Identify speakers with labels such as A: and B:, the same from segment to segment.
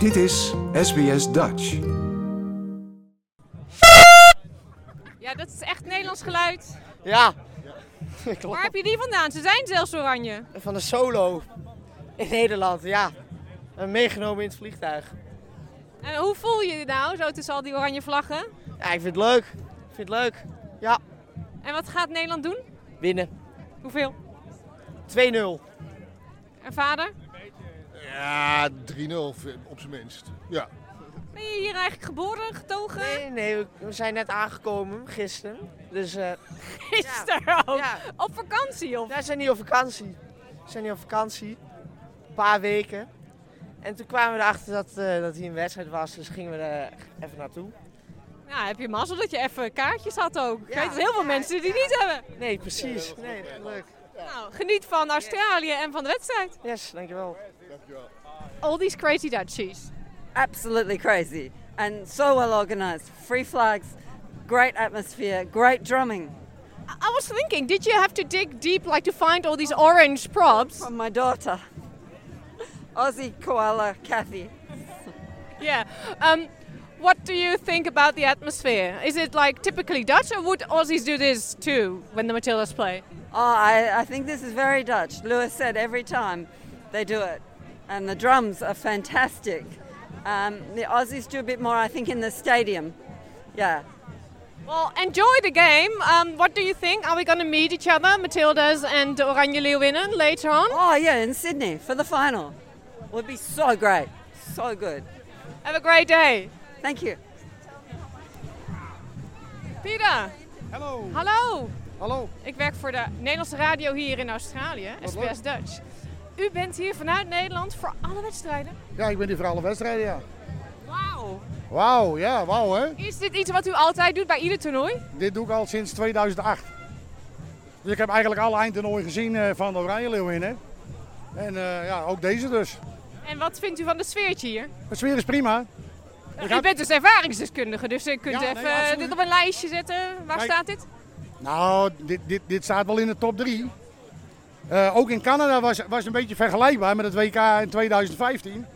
A: Dit is SBS Dutch.
B: Ja, dat is echt Nederlands geluid.
C: Ja,
B: Waar heb je die vandaan? Ze zijn zelfs oranje.
C: van de solo in Nederland, ja. En meegenomen in het vliegtuig.
B: En hoe voel je je nou, zo tussen al die oranje vlaggen?
C: Ja, ik vind het leuk. Ik vind het leuk. Ja,
B: En wat gaat Nederland doen?
C: winnen.
B: Hoeveel?
C: 2-0.
B: En vader?
D: Ja, 3-0 op zijn minst. Ja.
B: Ben je hier eigenlijk geboren, getogen?
C: Nee, nee, we- we zijn net aangekomen, gisteren. Dus eh
B: Gisteren ook.
C: ja,
B: Op vakantie of?
C: wij zijn niet op vakantie. We zijn niet op vakantie. Een paar weken. En toen kwamen we erachter dat, eh, dat hier een wedstrijd was, dus gingen we er even naartoe.
B: Ja, heb je mazzel dat je even kaartjes had ook. Ik
C: Ja.
B: weet dat heel veel
C: Ja,
B: mensen die
C: ja.
B: niet hebben.
C: Nee, precies. Nee, leuk.
B: Nou, geniet van Australië en van de wedstrijd.
C: Yes, dankjewel.
B: All these crazy Dutchies.
E: absolutely crazy and so well organized. Free flags, great atmosphere, great drumming.
B: I was thinking, did you have to dig deep like to find all these orange props?
E: From my daughter, Aussie koala Kathy.
B: Yeah. Um, what do you think about the atmosphere? Is it like typically Dutch, or would Aussies do this too when the Matildas play?
E: Oh, I, I think this is very Dutch. Lewis said every time they do it. And the drums are fantastic. Um, the Aussies do a bit more, I think, in the stadium. Yeah.
B: Well, enjoy the game. Um, what do you think? Are we going to meet each other, Matildas and the Oranje Leeuwinnen, later on?
E: Oh, yeah, in Sydney for the final. Would be so great. So good.
B: Have a great day.
E: Thank you.
B: Peter.
F: Hallo.
B: Hallo.
F: Hallo.
B: Ik werk voor de Nederlandse radio hier in Australië, SBS Dutch. U bent hier vanuit Nederland voor alle wedstrijden.
F: Ja, ik ben hier voor alle wedstrijden, ja.
B: Wauw.
F: Wauw, ja, wauw hè.
B: Is dit iets wat u altijd doet bij ieder toernooi?
F: Dit doe ik al sinds 2008. Dus ik heb eigenlijk alle eindtoernooien gezien eh, van de Oranje Leeuwinnen. En eh, ja, ook deze dus.
B: En wat vindt u van de sfeertje hier?
F: De sfeer is prima.
B: U bent dus ervaringsdeskundige, dus u kunt
F: Ja, nee,
B: even
F: absoluut.
B: dit op een lijstje zetten. Waar
F: Kijk.
B: staat dit?
F: Nou, dit, dit, dit staat wel in de top 3. Eh, ook in Canada was was een beetje vergelijkbaar met het WK in 2015.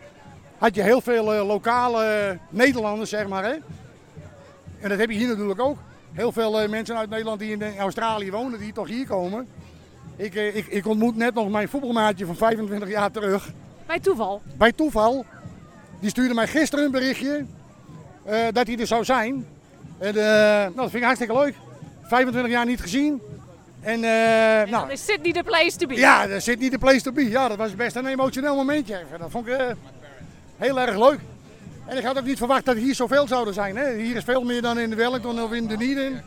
F: Had je heel veel eh, lokale eh, Nederlanders, zeg maar. Hè? En dat heb je hier natuurlijk ook. Heel veel eh, mensen uit Nederland die in eh, Australië wonen, die toch hier komen. Ik, eh, ik, ik ontmoet net nog mijn voetbalmaatje van 25 jaar terug
B: Bij toeval.
F: bij toeval, die stuurde mij gisteren een berichtje eh, dat hij er zou zijn. En eh, nou, dat vind ik hartstikke leuk. 25 jaar niet gezien. En, eh,
B: En
F: nou,
B: dan is Sydney the place to be.
F: ja, daar zit niet de place to be. Ja, dat was best een emotioneel momentje. even. Dat vond ik eh, heel erg leuk. En ik had ook niet verwacht dat hier zoveel zouden zijn. Hè. Hier is veel meer dan in Wellington of in Dunedin.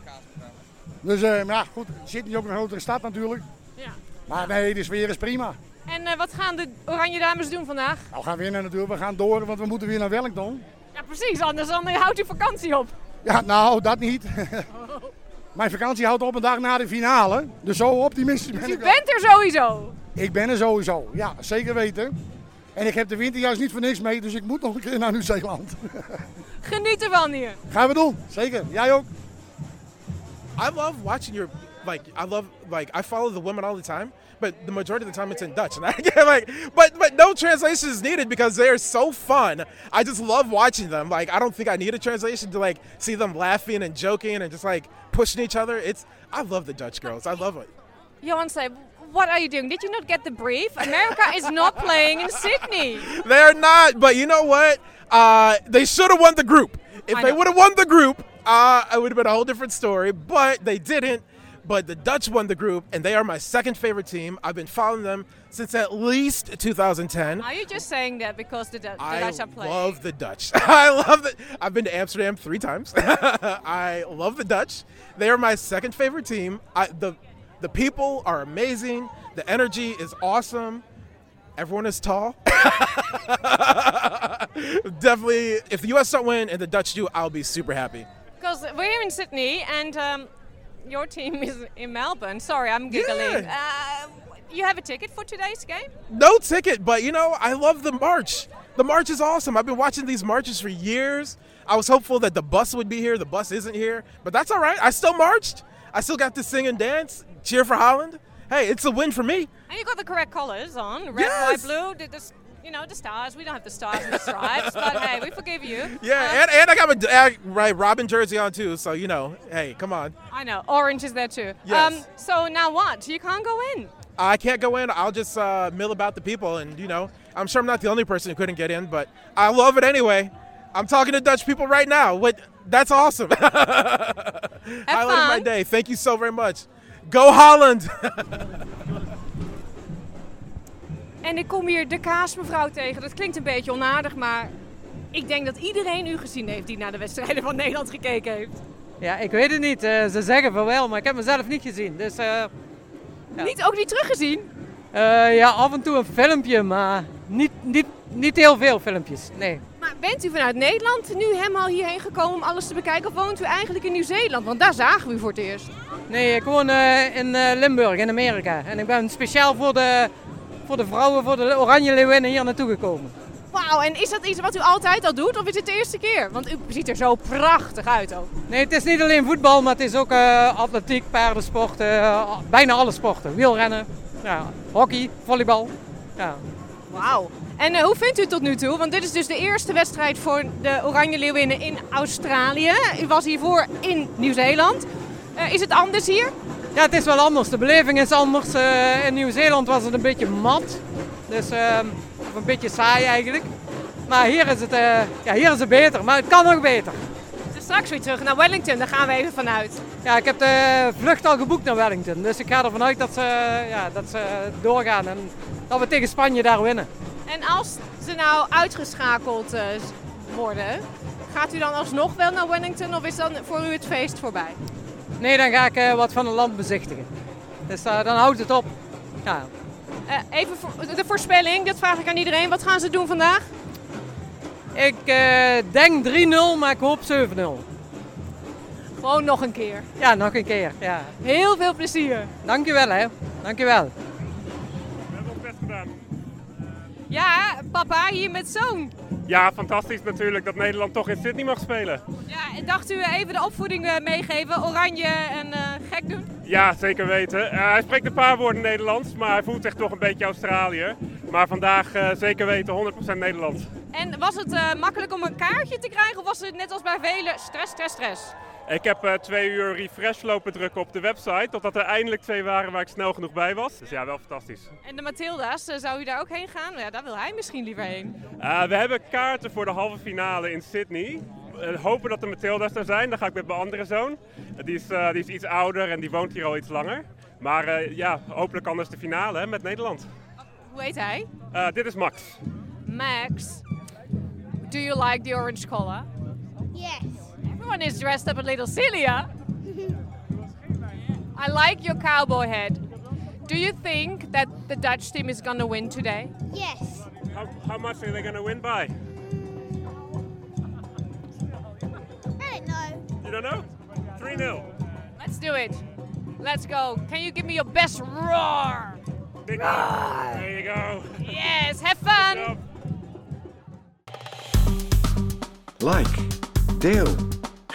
F: Dus, eh, maar ja, goed, Sydney is ook een grotere stad natuurlijk.
B: Ja.
F: Maar nee, de sfeer is prima.
B: En eh, wat gaan de Oranje Dames doen vandaag?
F: Nou, we gaan winnen natuurlijk. We gaan door, want we moeten weer naar Wellington.
B: Ja, precies, anders dan eh, houdt u vakantie op.
F: Ja, nou, dat niet. Mijn vakantie houdt op een dag na de finale. Dus zo optimistisch ben
B: U
F: ik wel.
B: bent er sowieso.
F: Ik ben er sowieso. Ja, zeker weten. En ik heb de winter juist niet voor niks mee, dus ik moet nog een keer naar Nieuw-Zeeland.
B: Geniet ervan hier.
F: Gaan we doen. Zeker. Jij ook.
G: I love watching your like I love like I follow the women all the time, but the majority of the time it's in Dutch. And I get like but but no translation is needed because they are so fun. I just love watching them. Like I don't think I need a translation to like see them laughing and joking and just like pushing each other. It's I love the Dutch girls. I love it.
B: Johan said, what are you doing? Did you not get the brief? America is not playing in Sydney.
G: They're not, but you know what? Uh, they should have won the group. If
B: I
G: they
B: know.
G: would have won the group, uh, it would have been a whole different story, but they didn't. But the Dutch won the group, and they are my second favorite team. I've been following them since at least 2010.
B: Are you just saying that because the, the
G: I
B: Dutch are playing?
G: love the Dutch. I love the. I've been to Amsterdam three times. I love the Dutch. They are my second favorite team. I, the the people are amazing. The energy is awesome. Everyone is tall. Definitely, if the U.S. don't win and the Dutch do, I'll be super happy.
B: Because we're here in Sydney and um, your team is in Melbourne. Sorry, I'm giggling. Uh, you have a ticket for today's game?
G: No ticket, but you know, I love the march. The march is awesome. I've been watching these marches for years. I was hopeful that the bus would be here. The bus isn't here, but that's all right. I still marched. I still got to sing and dance, cheer for Holland. Hey, it's a win for me.
B: And you got the correct colours on red,
G: Yes!
B: white, blue. The, the s- you know, the stars. We don't have the stars and the stripes, but hey, we forgive you. Um,
G: Yeah, and, and I got my d- uh, right Robin jersey on too, so you know, hey, come on.
B: I know. Orange is there too. Um,
G: Yes.
B: so now what? You can't go in.
G: I can't go in. I'll just uh, mill about the people, and you know, I'm sure I'm not the only person who couldn't get in, but I love it anyway. I'm talking to Dutch people right now. What? That's awesome.
B: Have
G: Highlight of my
B: fun.
G: day. Thank you so very much. Go Holland.
B: En ik kom hier de kaasmevrouw tegen. Dat klinkt een beetje onaardig, maar ik denk dat iedereen u gezien heeft die naar de wedstrijden van Nederland gekeken heeft.
H: Ja, ik weet het niet. Eh, ze zeggen van wel, maar ik heb mezelf niet gezien. Dus eh, Ja.
B: Niet ook niet teruggezien.
H: eh, ja, af en toe een filmpje, maar niet, niet, niet heel veel filmpjes. Nee.
B: Maar bent u vanuit Nederland nu helemaal hierheen gekomen om alles te bekijken? Of woont u eigenlijk in Nieuw-Zeeland? Want daar zagen we u voor het eerst.
H: Nee, ik woon eh, in eh, Limburg, in Amerika. En ik ben speciaal voor de, voor de vrouwen, voor de Oranje Leeuwinnen hier naartoe gekomen.
B: Wauw, en is dat iets wat u altijd al doet? Of is het de eerste keer? Want u ziet er zo prachtig uit ook.
H: Nee, het is niet alleen voetbal, maar het is ook eh, atletiek, paardensport, eh, bijna alle sporten. Wielrennen, ja, hockey, volleybal. Ja.
B: Wauw. En eh, hoe vindt u het tot nu toe? Want dit is dus de eerste wedstrijd voor de Oranje Leeuwinnen in Australië. U was hiervoor in Nieuw-Zeeland. Eh, is het anders hier?
H: Ja, het is wel anders. De beleving is anders. Eh, in Nieuw-Zeeland was het een beetje mat. Dus ehm, of een beetje saai eigenlijk. Maar hier is, het, eh, ja, hier is het beter. Maar het kan nog beter.
B: Dus straks weer terug naar Wellington, daar gaan we even vanuit.
H: Ja, ik heb de vlucht al geboekt naar Wellington. Dus ik ga ervan uit dat ze, ja, dat ze doorgaan. En dat we tegen Spanje daar winnen.
B: En als ze nou uitgeschakeld eh, worden, gaat u dan alsnog wel naar Wellington of is dan voor u het feest voorbij?
H: Nee, dan ga ik eh, wat van het land bezichtigen. Dus eh, dan houdt het op. Ja.
B: Eh, even voor- de voorspelling, dat vraag ik aan iedereen. Wat gaan ze doen vandaag?
H: Ik eh, denk 3-0, maar ik hoop 7-0.
B: Gewoon nog een keer.
H: Ja, nog een keer. Ja.
B: Heel veel plezier.
H: Dankjewel hè. Dankjewel.
B: Ja, papa hier met zoon.
I: Ja, fantastisch natuurlijk dat Nederland toch in Sydney mag spelen.
B: Ja, en dacht u even de opvoeding eh, meegeven, oranje en eh, gek doen?
I: Ja, zeker weten. Eh, hij spreekt een paar woorden Nederlands, maar hij voelt zich toch een beetje Australiër. Maar vandaag eh, zeker weten 100% Nederlands.
B: En was het eh, makkelijk om een kaartje te krijgen of was het net als bij velen stress, stress, stress?
I: Ik heb eh, twee uur refresh lopen drukken op de website, totdat er eindelijk twee waren waar ik snel genoeg bij was. Dus ja, wel fantastisch.
B: En de Mathilda's, eh, zou u daar ook heen gaan? Nou Ja, daar wil hij misschien liever heen.
I: Eh, we hebben kaarten voor de halve finale in Sydney. Eh, hopen dat de Mathilda's er zijn. Dan ga ik met mijn andere zoon. Eh, die, is, eh, die is iets ouder en die woont hier al iets langer. Maar eh, ja, hopelijk anders de finale hè, met Nederland.
B: Hoe heet hij?
I: Eh, dit is Max.
B: Max. Do you like the orange color?
J: Yes.
B: Everyone is dressed up a little silly, huh? I like your cowboy hat. Do you think that the Dutch team is gonna win today?
J: Yes.
I: How, how much are they going to win by? You
J: I don't know.
I: don't know? 3 0.
B: Let's do it. Let's go. Can you give me your best roar?
I: Big
J: Ah!
I: up. There you go.
B: Yes, have fun.
I: Up.
A: Like, deel,